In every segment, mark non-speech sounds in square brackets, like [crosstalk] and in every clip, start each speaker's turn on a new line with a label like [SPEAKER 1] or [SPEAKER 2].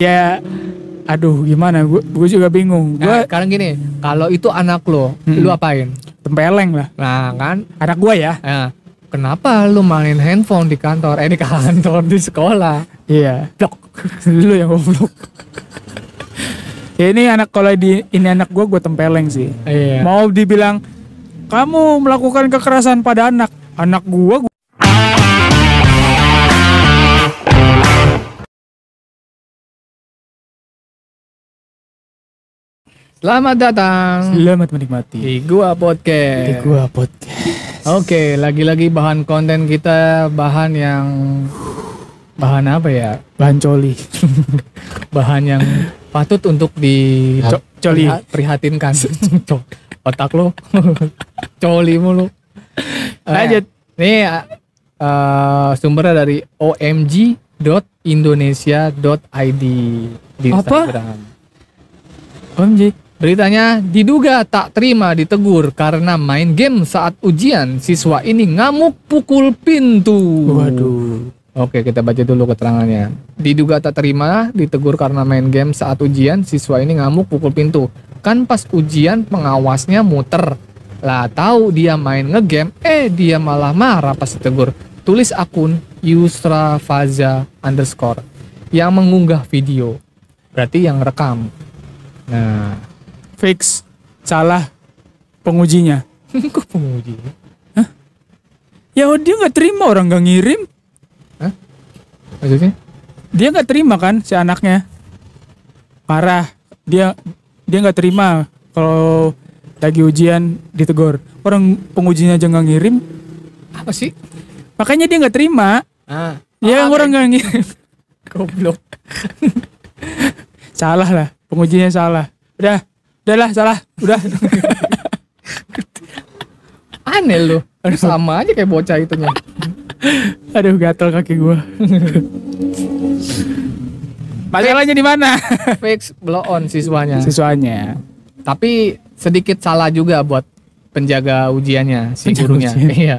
[SPEAKER 1] ya aduh gimana gue juga bingung
[SPEAKER 2] Nah,
[SPEAKER 1] gue
[SPEAKER 2] sekarang gini, kalau itu anak lo,
[SPEAKER 1] Mm-mm.
[SPEAKER 2] lu apain?
[SPEAKER 1] tempeleng lah
[SPEAKER 2] Nah, kan
[SPEAKER 1] anak gue ya
[SPEAKER 2] eh, kenapa lu main handphone di kantor? Eh di kantor di sekolah.
[SPEAKER 1] iya blok [laughs] lu yang goblok ya ini anak kalau di ini anak gue gue tempeleng sih
[SPEAKER 2] Iya.
[SPEAKER 1] mau dibilang kamu melakukan kekerasan pada anak anak gue
[SPEAKER 2] Selamat datang
[SPEAKER 1] selamat menikmati
[SPEAKER 2] di gua podcast.
[SPEAKER 1] di gue podcast
[SPEAKER 2] Oke, lagi-lagi bahan konten kita bahan yang bahan apa ya?
[SPEAKER 1] bahan coli
[SPEAKER 2] Bahan yang patut untuk di
[SPEAKER 1] Co- coli
[SPEAKER 2] priha- prihatinkan. [laughs] Co- Otak lo [laughs] coli mulu. Eh,
[SPEAKER 1] lanjut
[SPEAKER 2] Nih eh, sumbernya dari omg.indonesia.id di
[SPEAKER 1] Apa?
[SPEAKER 2] Instagram.
[SPEAKER 1] OMG
[SPEAKER 2] Beritanya diduga tak terima ditegur karena main game saat ujian, siswa ini ngamuk pukul pintu.
[SPEAKER 1] waduh
[SPEAKER 2] Oke, kita baca dulu keterangannya. Diduga tak terima ditegur karena main game saat ujian, siswa ini ngamuk pukul pintu. Kan pas ujian pengawasnya muter. Lah tahu dia main ngegame, eh dia malah marah pas ditegur. Tulis akun Yusra Faza underscore yang mengunggah video. Berarti yang rekam. Nah, [laughs]
[SPEAKER 1] fix salah pengujinya
[SPEAKER 2] kok penguji?
[SPEAKER 1] ya dia nggak terima orang nggak ngirim
[SPEAKER 2] Maksudnya?
[SPEAKER 1] dia nggak terima kan si anaknya parah dia dia nggak terima kalau lagi ujian ditegur orang pengujinya aja nggak ngirim
[SPEAKER 2] Apa sih?
[SPEAKER 1] makanya dia nggak terima
[SPEAKER 2] Ah,
[SPEAKER 1] ya
[SPEAKER 2] apa?
[SPEAKER 1] orang nggak ngirim [laughs]
[SPEAKER 2] goblok.
[SPEAKER 1] salah lah pengujinya salah udah udahlah salah udah [laughs]
[SPEAKER 2] Aneh lu. Sama aja kayak bocah itunya.
[SPEAKER 1] aduh gatel kaki gua [laughs] masalahnya di mana [laughs]
[SPEAKER 2] Fix blow on siswanya.
[SPEAKER 1] siswanya
[SPEAKER 2] tapi sedikit salah juga buat penjaga ujiannya si
[SPEAKER 1] Penjaga
[SPEAKER 2] gurunya
[SPEAKER 1] ujian.
[SPEAKER 2] [laughs] iya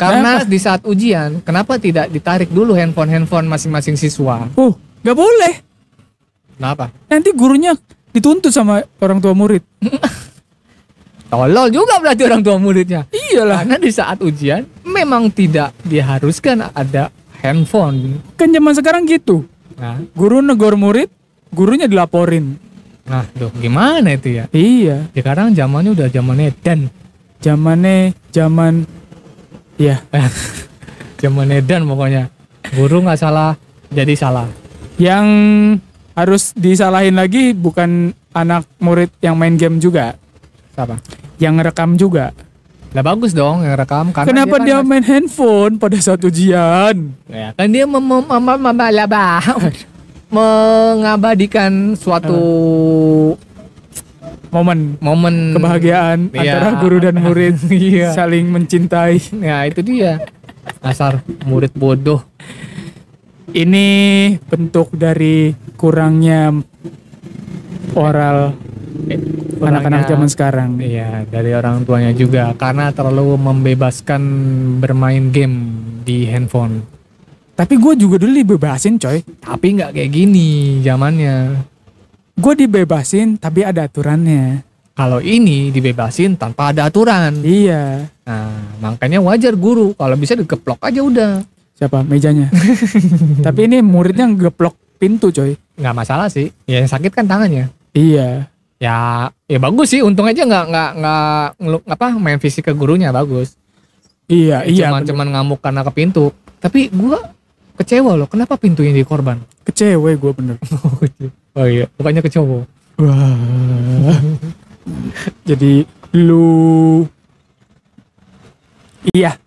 [SPEAKER 2] karena di saat ujian kenapa tidak ditarik dulu handphone handphone masing-masing siswa
[SPEAKER 1] uh nggak boleh
[SPEAKER 2] kenapa
[SPEAKER 1] nanti gurunya dituntut sama orang tua murid
[SPEAKER 2] tolol juga berarti orang tua muridnya
[SPEAKER 1] iyalah
[SPEAKER 2] karena di saat ujian memang tidak diharuskan ada handphone
[SPEAKER 1] kan zaman sekarang gitu
[SPEAKER 2] nah
[SPEAKER 1] guru negor murid, gurunya dilaporin.
[SPEAKER 2] nah tuh gimana itu ya
[SPEAKER 1] Iya,
[SPEAKER 2] sekarang zamannya udah zamannya [laughs] dan
[SPEAKER 1] zamannya zaman ya,
[SPEAKER 2] zamannya dan pokoknya guru nggak salah jadi salah
[SPEAKER 1] yang harus disalahin lagi bukan anak murid yang main game juga,
[SPEAKER 2] apa
[SPEAKER 1] yang rekam juga.
[SPEAKER 2] lah bagus dong yang rekam karena
[SPEAKER 1] Kenapa
[SPEAKER 2] kan
[SPEAKER 1] dia,
[SPEAKER 2] ngasih-
[SPEAKER 1] main handphone pada saat ujian?
[SPEAKER 2] Ya, kan dia mem mem mem mem [laughs] laba- mengabadikan suatu
[SPEAKER 1] Momen
[SPEAKER 2] momen
[SPEAKER 1] kebahagiaan
[SPEAKER 2] Iya.
[SPEAKER 1] antara guru dan
[SPEAKER 2] [laughs]
[SPEAKER 1] murid saling mencintai.
[SPEAKER 2] Ya itu dia. Asar murid bodoh.
[SPEAKER 1] Ini bentuk dari kurangnya oral eh, anak-anak
[SPEAKER 2] Kurangnya-
[SPEAKER 1] zaman sekarang.
[SPEAKER 2] Iya, dari orang tuanya juga karena terlalu membebaskan bermain game di handphone.
[SPEAKER 1] Tapi gue juga dulu dibebasin coy
[SPEAKER 2] Tapi nggak kayak gini zamannya.
[SPEAKER 1] Gue dibebasin tapi ada aturannya
[SPEAKER 2] Kalau ini dibebasin tanpa ada aturan.
[SPEAKER 1] Iya
[SPEAKER 2] Nah, makanya wajar guru kalau bisa dikeplok aja udah.
[SPEAKER 1] Siapa? Mejanya Tapi ini muridnya ngeblok pintu coy
[SPEAKER 2] Nggak masalah sih. Ya yang sakit kan tangannya.
[SPEAKER 1] Iya
[SPEAKER 2] ya ya bagus sih untung aja nggak nggak nggak ngelu- apa main fisik ke gurunya bagus
[SPEAKER 1] Iya iya
[SPEAKER 2] cuman cuman ngamuk karena ke pintu tapi gua kecewa loh kenapa pintu ini korban
[SPEAKER 1] Ke cewek gue bener
[SPEAKER 2] [laughs] oh iya bukannya ke cowok
[SPEAKER 1] Wah Jadi lu Iya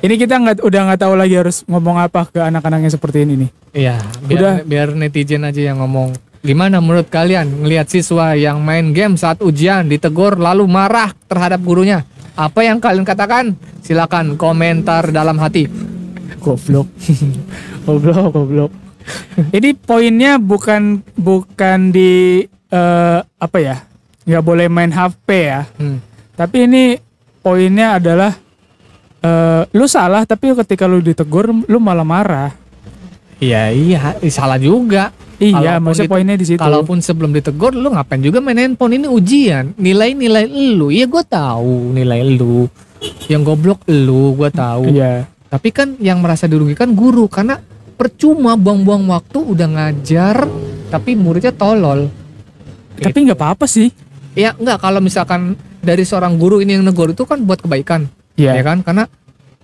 [SPEAKER 1] Ini kita nggak udah nggak tahu lagi harus ngomong apa ke anak-anaknya seperti ini nih.
[SPEAKER 2] iya biar
[SPEAKER 1] Udah.
[SPEAKER 2] biar netizen aja yang ngomong gimana menurut kalian ngelihat siswa yang main game saat ujian ditegur lalu marah terhadap gurunya apa yang kalian katakan silakan komentar dalam hati
[SPEAKER 1] goblok [laughs] goblok goblok ini poinnya bukan bukan di eh, apa ya nggak boleh main HP ya
[SPEAKER 2] Hmm.
[SPEAKER 1] tapi ini poinnya adalah eh, lu salah tapi ketika lu ditegur lu malah marah
[SPEAKER 2] Iya iya salah juga.
[SPEAKER 1] Iya,
[SPEAKER 2] Kalaupun
[SPEAKER 1] maksudnya
[SPEAKER 2] di-
[SPEAKER 1] poinnya di situ.
[SPEAKER 2] Kalaupun sebelum ditegur lu ngapain juga main handphone ini ujian. Nilai-nilai lu, ya gue tahu nilai lu. Yang goblok lu, gue tahu.
[SPEAKER 1] Iya.
[SPEAKER 2] Tapi kan yang merasa dirugikan guru karena percuma buang-buang waktu udah ngajar tapi muridnya tolol.
[SPEAKER 1] Tapi nggak apa-apa sih.
[SPEAKER 2] Ya enggak kalau misalkan dari seorang guru ini yang negor itu kan buat kebaikan, ya
[SPEAKER 1] Iya.
[SPEAKER 2] kan? Karena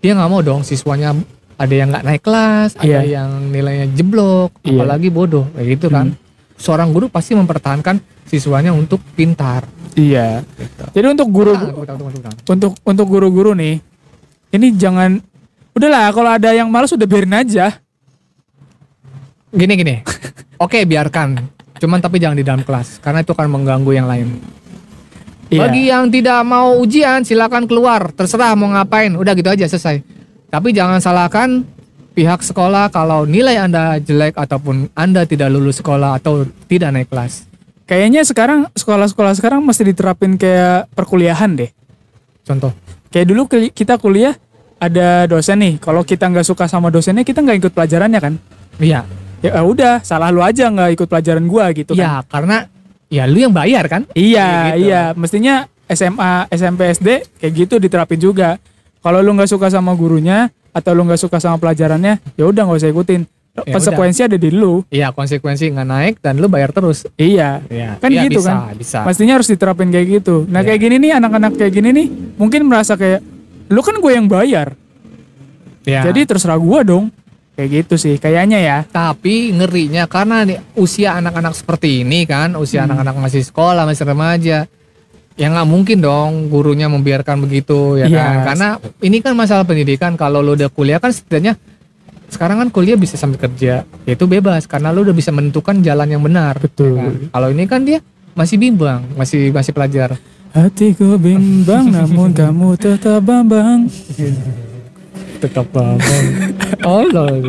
[SPEAKER 2] dia nggak mau dong siswanya ada yang nggak naik kelas,
[SPEAKER 1] Iya.
[SPEAKER 2] ada yang nilainya
[SPEAKER 1] Iya.
[SPEAKER 2] jeblok,
[SPEAKER 1] Hmm.
[SPEAKER 2] apalagi bodoh, kayak gitu kan. Seorang guru pasti mempertahankan siswanya untuk pintar.
[SPEAKER 1] Iya. Jadi untuk guru
[SPEAKER 2] Tepuk tangan, tepuk tangan, tepuk tangan.
[SPEAKER 1] untuk untuk guru-guru nih, ini jangan udahlah kalau ada yang malas udah biarin aja.
[SPEAKER 2] Gini gini.
[SPEAKER 1] [laughs]
[SPEAKER 2] Oke, biarkan. Cuman tapi jangan di dalam kelas karena itu akan mengganggu yang lain.
[SPEAKER 1] Iya.
[SPEAKER 2] Bagi yang tidak mau ujian silakan keluar, terserah mau ngapain, udah gitu aja selesai. Tapi jangan salahkan pihak sekolah kalau nilai Anda jelek ataupun Anda tidak lulus sekolah atau tidak naik kelas.
[SPEAKER 1] Kayaknya sekarang sekolah-sekolah sekarang mesti diterapin kayak perkuliahan deh.
[SPEAKER 2] Contoh.
[SPEAKER 1] Kayak dulu keli- kita kuliah ada dosen nih. Kalau kita nggak suka sama dosennya, kita nggak ikut pelajarannya kan?
[SPEAKER 2] Iya.
[SPEAKER 1] Ya udah, salah lu aja nggak ikut pelajaran gua gitu kan.
[SPEAKER 2] Iya, karena ya lu yang bayar kan?
[SPEAKER 1] Iya,
[SPEAKER 2] Kayak gitu.
[SPEAKER 1] iya. Mestinya SMA, SMP, SD kayak gitu diterapin juga. Kalau lu nggak suka sama gurunya atau lu nggak suka sama pelajarannya, ya udah nggak usah ikutin.
[SPEAKER 2] udah.
[SPEAKER 1] Konsekuensi ada di lu.
[SPEAKER 2] Iya, konsekuensi nggak naik dan lu bayar terus.
[SPEAKER 1] Iya.
[SPEAKER 2] Iya.
[SPEAKER 1] Kan gitu
[SPEAKER 2] bisa,
[SPEAKER 1] kan.
[SPEAKER 2] Bisa.
[SPEAKER 1] Mestinya harus diterapin kayak gitu. Nah,
[SPEAKER 2] Iya.
[SPEAKER 1] kayak gini nih anak-anak kayak gini nih mungkin merasa kayak lu kan gue yang bayar.
[SPEAKER 2] Iya.
[SPEAKER 1] Jadi terserah gua dong. Kayak gitu sih kayaknya ya.
[SPEAKER 2] Tapi ngerinya karena nih, usia anak-anak seperti ini kan, usia anak-anak masih sekolah, masih remaja. Ya nggak mungkin dong gurunya membiarkan begitu
[SPEAKER 1] Iya.
[SPEAKER 2] ya kan. Karena ini kan masalah pendidikan. Kalau lo udah kuliah kan setidaknya sekarang kan kuliah bisa sambil kerja, ya itu bebas karena lo udah bisa menentukan jalan yang benar.
[SPEAKER 1] Betul.
[SPEAKER 2] Nah, Kalau ini kan dia masih bimbang, masih masih pelajar.
[SPEAKER 1] Hatiku
[SPEAKER 2] [laughs]
[SPEAKER 1] bimbang namun kamu tetap bambang.
[SPEAKER 2] Tetap bimbang. [laughs] oh loh.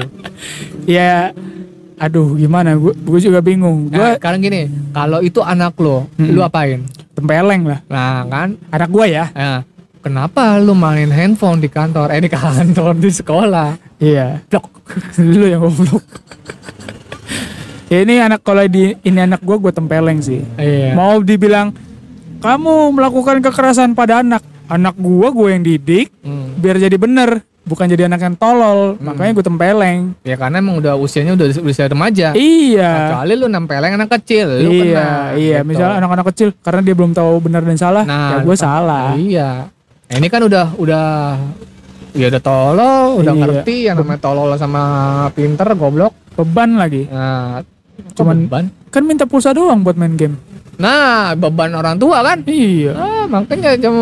[SPEAKER 1] Ya aduh gimana gue gue juga bingung.
[SPEAKER 2] Nah,
[SPEAKER 1] Gue
[SPEAKER 2] sekarang gini, kalau itu anak lo,
[SPEAKER 1] Mm-mm.
[SPEAKER 2] lo apain?
[SPEAKER 1] tempeleng lah.
[SPEAKER 2] Nah kan
[SPEAKER 1] anak gue ya
[SPEAKER 2] Nah, kenapa lu main handphone di kantor? Eh di kantor di sekolah.
[SPEAKER 1] iya blok [laughs] lu yang
[SPEAKER 2] [laughs]
[SPEAKER 1] goblok ya ini anak kalau di ini anak gue gue tempeleng sih
[SPEAKER 2] Iya.
[SPEAKER 1] mau dibilang kamu melakukan kekerasan pada anak anak gue gue yang didik
[SPEAKER 2] Hmm.
[SPEAKER 1] biar jadi bener bukan jadi anak yang tolol makanya gue tempeleng
[SPEAKER 2] Ya karena emang udah usianya udah usia remaja.
[SPEAKER 1] iya
[SPEAKER 2] Kecuali lu nempeleng anak kecil, Nah, lu
[SPEAKER 1] iya
[SPEAKER 2] kena.
[SPEAKER 1] iya
[SPEAKER 2] Gitu.
[SPEAKER 1] misalnya anak-anak kecil karena dia belum tahu benar dan salah
[SPEAKER 2] Nah,
[SPEAKER 1] ya gue
[SPEAKER 2] tetap-
[SPEAKER 1] salah
[SPEAKER 2] Iya. Nah, ini kan udah udah ya udah tolol, udah
[SPEAKER 1] Iya.
[SPEAKER 2] ngerti yang namanya tolol sama pinter goblok.
[SPEAKER 1] beban lagi
[SPEAKER 2] Nah, kok
[SPEAKER 1] Cuman-
[SPEAKER 2] beban.
[SPEAKER 1] kan minta pulsa doang buat main game
[SPEAKER 2] Nah, beban orang tua kan.
[SPEAKER 1] iya
[SPEAKER 2] Ah, makanya Nah. jam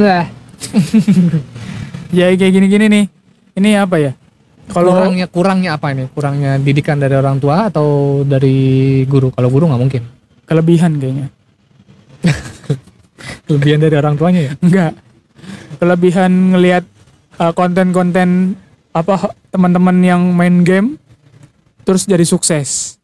[SPEAKER 2] lah.
[SPEAKER 1] ya kayak gini-gini nih ini apa ya kalau
[SPEAKER 2] kurangnya kurangnya apa ini kurangnya didikan dari orang tua atau dari guru kalau guru nggak mungkin
[SPEAKER 1] kelebihan kayaknya
[SPEAKER 2] kelebihan dari orang tuanya ya
[SPEAKER 1] enggak kelebihan ngelihat uh, konten-konten apa ho- teman-teman yang main game terus jadi sukses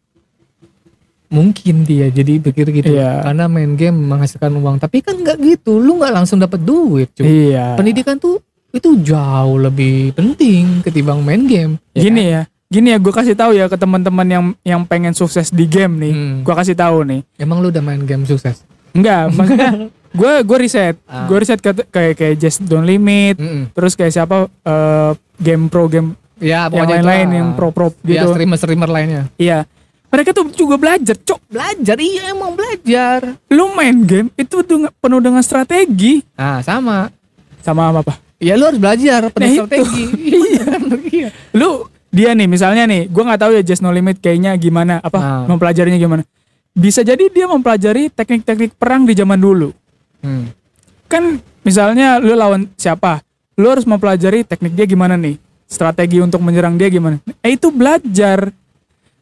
[SPEAKER 2] mungkin dia jadi pikir gitu
[SPEAKER 1] Iya.
[SPEAKER 2] karena main game menghasilkan uang tapi kan nggak gitu lu nggak langsung dapat duit cuy
[SPEAKER 1] iya
[SPEAKER 2] pendidikan tuh itu jauh lebih penting ketimbang main game ya
[SPEAKER 1] gini ya gini ya gue kasih tahu ya ke teman-teman yang yang pengen sukses di game nih
[SPEAKER 2] Hmm.
[SPEAKER 1] gue kasih tahu nih
[SPEAKER 2] kan? emang lu udah main game sukses
[SPEAKER 1] enggak maksudnya gue gue riset
[SPEAKER 2] Ah. Hmm.
[SPEAKER 1] gue riset ke- kayak kayak just don't limit
[SPEAKER 2] Mm-mm.
[SPEAKER 1] terus kayak siapa uh, game pro game
[SPEAKER 2] ya
[SPEAKER 1] yang
[SPEAKER 2] pokoknya
[SPEAKER 1] lain-lain
[SPEAKER 2] itulah.
[SPEAKER 1] yang pro pro
[SPEAKER 2] ya
[SPEAKER 1] gitu
[SPEAKER 2] streamer streamer lainnya
[SPEAKER 1] Iya. Mereka tuh juga belajar, Cok.
[SPEAKER 2] belajar iya emang belajar
[SPEAKER 1] Lu main game itu tuh penuh dengan strategi.
[SPEAKER 2] nah sama
[SPEAKER 1] Sama apa?
[SPEAKER 2] ya lu harus
[SPEAKER 1] Nah,
[SPEAKER 2] belajar penuh
[SPEAKER 1] itu. [laughs]
[SPEAKER 2] strategi iya bener, iya
[SPEAKER 1] Lu dia nih misalnya nih, gua nggak tahu ya Just No Limit kayaknya gimana, apa
[SPEAKER 2] Nah.
[SPEAKER 1] mempelajarinya gimana. Bisa jadi dia mempelajari teknik-teknik perang di zaman dulu.
[SPEAKER 2] Hmm.
[SPEAKER 1] Kan misalnya lu lawan siapa? Lu harus mempelajari teknik dia gimana nih. Strategi untuk menyerang dia gimana. Eh itu belajar.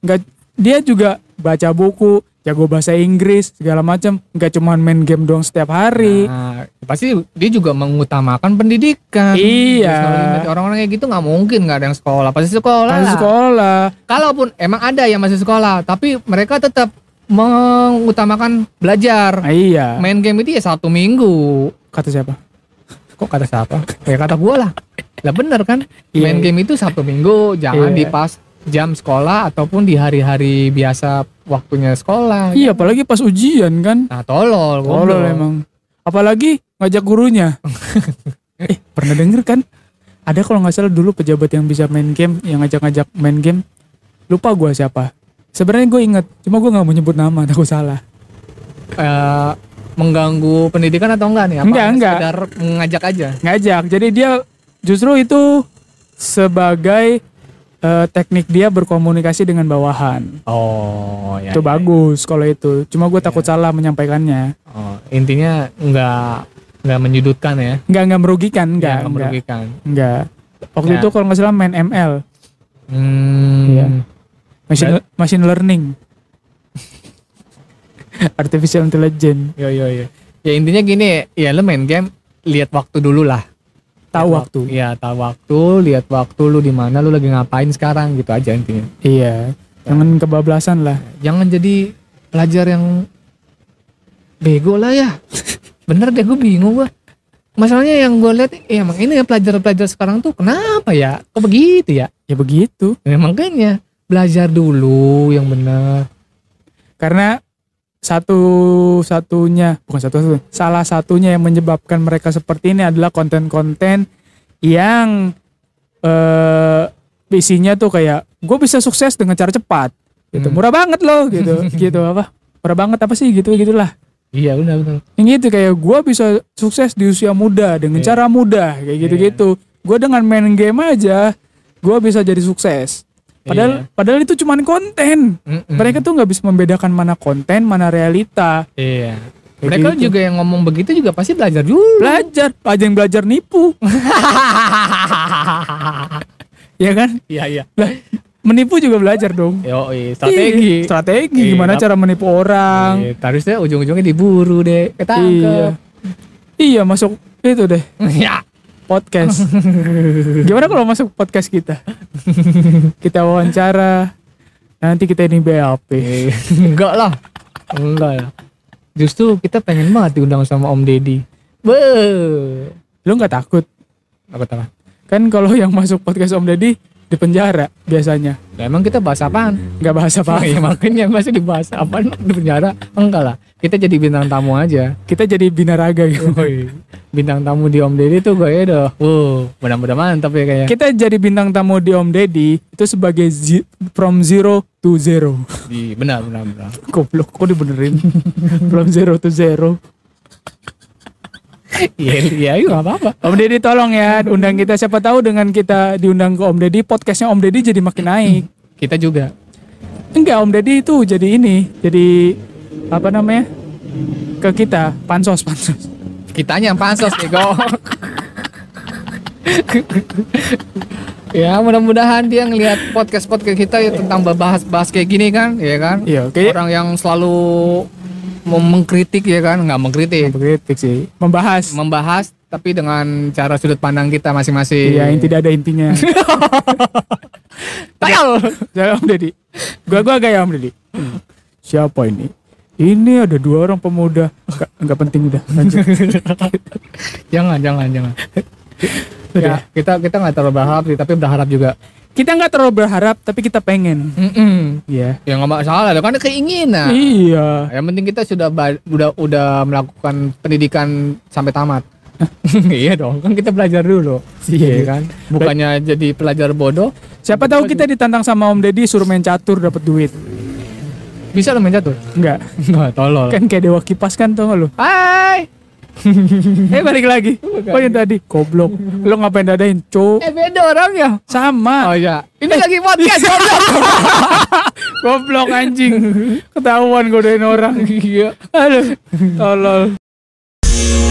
[SPEAKER 1] Nggak dia juga baca buku, jago bahasa Inggris, segala macam. Nggak cuman main game doang setiap hari.
[SPEAKER 2] Nah, pasti dia juga mengutamakan pendidikan.
[SPEAKER 1] Iya.
[SPEAKER 2] Terus kalau lihat Orang-orang kayak gitu nggak mungkin nggak ada yang sekolah, pasti sekolah.
[SPEAKER 1] Masih
[SPEAKER 2] lah.
[SPEAKER 1] sekolah.
[SPEAKER 2] Kalaupun emang ada yang masih sekolah, tapi mereka tetap mengutamakan belajar.
[SPEAKER 1] Ah, iya.
[SPEAKER 2] Main game itu ya satu minggu.
[SPEAKER 1] Kata siapa?
[SPEAKER 2] Kok kata siapa? ya kata gua lah. Lah bener kan?
[SPEAKER 1] Iya.
[SPEAKER 2] Main game itu satu minggu, jangan
[SPEAKER 1] Iya.
[SPEAKER 2] dipas jam sekolah ataupun di hari-hari biasa waktunya sekolah.
[SPEAKER 1] Iya, apalagi pas ujian kan.
[SPEAKER 2] Nah,
[SPEAKER 1] Tolol
[SPEAKER 2] tolol, goblok.
[SPEAKER 1] emang. Apalagi ngajak
[SPEAKER 2] [laughs]
[SPEAKER 1] gurunya. eh, pernah denger kan? Ada kalau nggak salah dulu pejabat yang bisa main game, yang ngajak-ngajak main game. Lupa gua siapa. Sebenarnya gue inget, cuma gue nggak mau nyebut nama, [laughs] takut salah.
[SPEAKER 2] Eh, mengganggu pendidikan atau enggak nih? Apa
[SPEAKER 1] Enggak, enggak.
[SPEAKER 2] sekedar ngajak aja.
[SPEAKER 1] Ngajak, jadi dia justru itu sebagai eh, teknik dia berkomunikasi dengan bawahan.
[SPEAKER 2] Oh, ya.
[SPEAKER 1] itu
[SPEAKER 2] ya,
[SPEAKER 1] bagus kalau itu. Cuma gue takut salah menyampaikannya.
[SPEAKER 2] ya. Oh, intinya enggak enggak menyudutkan ya.
[SPEAKER 1] Nggak nggak merugikan, nggak
[SPEAKER 2] Enggak
[SPEAKER 1] nggak
[SPEAKER 2] merugikan.
[SPEAKER 1] nggak. Waktu
[SPEAKER 2] Ya.
[SPEAKER 1] itu kalau nggak salah main ML,
[SPEAKER 2] Hmm.
[SPEAKER 1] Iya. machine machine
[SPEAKER 2] [laughs]
[SPEAKER 1] learning, artificial intelligence,
[SPEAKER 2] Yo yo yo. Ya intinya gini, ya lu main game lihat waktu dulu lah.
[SPEAKER 1] tahu
[SPEAKER 2] Lihat
[SPEAKER 1] waktu.
[SPEAKER 2] Iya, tahu waktu, lihat waktu lu di mana, lu lagi ngapain sekarang gitu aja intinya.
[SPEAKER 1] Iya, jangan kebablasan lah.
[SPEAKER 2] Jangan jadi pelajar yang bego lah [laughs] ya. Bener deh gue bingung gua. Masalahnya yang gue lihat ya emang ini ya pelajar-pelajar sekarang tuh kenapa ya? Kok begitu ya?
[SPEAKER 1] Ya begitu.
[SPEAKER 2] Ya, makanya belajar dulu yang bener.
[SPEAKER 1] Karena satu satunya bukan satu satunya salah satunya yang menyebabkan mereka seperti ini adalah konten-konten yang eh isinya tuh kayak gue bisa sukses dengan cara cepat gitu
[SPEAKER 2] Hmm.
[SPEAKER 1] murah banget loh gitu
[SPEAKER 2] [laughs]
[SPEAKER 1] gitu apa murah banget apa sih gitu gitulah
[SPEAKER 2] Iya benar benar.
[SPEAKER 1] yang gitu kayak gue bisa sukses di usia muda dengan
[SPEAKER 2] Iya.
[SPEAKER 1] cara mudah kayak gitu gitu gue dengan main game aja gue bisa jadi sukses padahal
[SPEAKER 2] Iya. Hmm.
[SPEAKER 1] padahal itu cuman konten
[SPEAKER 2] Mm-mm.
[SPEAKER 1] mereka tuh nggak bisa membedakan mana konten mana realita
[SPEAKER 2] Iya.
[SPEAKER 1] Kayak
[SPEAKER 2] Mereka
[SPEAKER 1] gitu.
[SPEAKER 2] juga yang ngomong begitu juga pasti belajar dulu.
[SPEAKER 1] belajar aja yang belajar nipu [laughs] ya kan
[SPEAKER 2] [laughs] Iya iya.
[SPEAKER 1] Lah, menipu juga belajar dong
[SPEAKER 2] Yo,
[SPEAKER 1] Iya,
[SPEAKER 2] strategi.
[SPEAKER 1] strategi
[SPEAKER 2] Iya,
[SPEAKER 1] gimana
[SPEAKER 2] nap-
[SPEAKER 1] cara menipu orang
[SPEAKER 2] Iya, harusnya ujung-ujungnya diburu deh, ketangkep.
[SPEAKER 1] iya masuk itu deh
[SPEAKER 2] [laughs] Iya.
[SPEAKER 1] podcast gimana kalau masuk podcast kita kita wawancara nanti kita ini BLP
[SPEAKER 2] Eh, [laughs] Enggak lah. Enggak lah. Justru kita pengen banget diundang sama Om Deddy. Be.
[SPEAKER 1] lu nggak takut
[SPEAKER 2] Apa tahu?
[SPEAKER 1] kan kalau yang masuk podcast Om Deddy di penjara biasanya
[SPEAKER 2] Nah, emang kita bahas apaan?
[SPEAKER 1] [laughs] nggak bahas
[SPEAKER 2] Apa [laughs]
[SPEAKER 1] apa
[SPEAKER 2] ya makanya masih dibahas apaan di penjara? Enggak lah. Kita jadi bintang tamu aja.
[SPEAKER 1] kita jadi binaraga
[SPEAKER 2] Iya.
[SPEAKER 1] gitu
[SPEAKER 2] [laughs] bintang tamu di Om Deddy tuh gue doh. Wow, benar-benar mantap ya kayak.
[SPEAKER 1] kita jadi bintang tamu di Om Deddy itu sebagai zi- from zero to zero [laughs]
[SPEAKER 2] Benar, benar, benar.
[SPEAKER 1] goblok kok dibenerin from zero to zero
[SPEAKER 2] Iya, iya, iya, nggak apa-apa.
[SPEAKER 1] Om Deddy tolong ya undang kita siapa tahu dengan kita diundang ke Om Deddy podcastnya Om Deddy jadi makin naik
[SPEAKER 2] Kita juga.
[SPEAKER 1] enggak Om Deddy itu jadi ini jadi apa namanya ke kita pansos pansos
[SPEAKER 2] Kitanya yang pansos bego. ya mudah-mudahan dia ngelihat podcast podcast kita ya tentang bahas-bahas kayak gini kan, ya kan?
[SPEAKER 1] iya oke
[SPEAKER 2] Orang yang selalu mau mengkritik ya kan, nggak mengkritik,
[SPEAKER 1] mengkritik sih ya. membahas
[SPEAKER 2] membahas tapi dengan cara sudut pandang kita masing-masing.
[SPEAKER 1] iya yang tidak ada intinya [laughs]
[SPEAKER 2] Tayal.
[SPEAKER 1] Saya Om Deddy. Gua gua kayak Om Deddy. Siapa ini? Ini ada dua orang pemuda. Nggak, nggak penting [laughs] udah. Lanjut.
[SPEAKER 2] jangan, jangan, jangan.
[SPEAKER 1] Udah.
[SPEAKER 2] Ya, kita kita nggak terlalu berharap sih, tapi berharap juga.
[SPEAKER 1] Kita nggak terlalu berharap, tapi kita pengen.
[SPEAKER 2] Mm-mm.
[SPEAKER 1] Iya.
[SPEAKER 2] Ya nggak masalah, kan ada keinginan.
[SPEAKER 1] Iya.
[SPEAKER 2] Yang penting kita sudah ba- udah udah melakukan pendidikan sampai tamat. [laughs] iya dong, kan kita belajar dulu.
[SPEAKER 1] Iya.
[SPEAKER 2] kan? Bukannya jadi pelajar bodoh,
[SPEAKER 1] Siapa tahu kita ditantang sama Om Deddy suruh main catur dapat duit.
[SPEAKER 2] bisa lo main jatuh.
[SPEAKER 1] Enggak.
[SPEAKER 2] Nggak, tolol.
[SPEAKER 1] Kan kayak dewa kipas kan tau nggak lu?
[SPEAKER 2] Hai.
[SPEAKER 1] Eh balik lagi. Kok yang tadi? Goblok. Lu ngapain dadain? Cuk.
[SPEAKER 2] Eh beda orang ya.
[SPEAKER 1] Sama.
[SPEAKER 2] Oh iya. Ini lagi
[SPEAKER 1] [laughs]
[SPEAKER 2] podcast.
[SPEAKER 1] Iya. Goblok anjing. Ketahuan godain orang.
[SPEAKER 2] Iya.
[SPEAKER 1] Aduh. Tolol.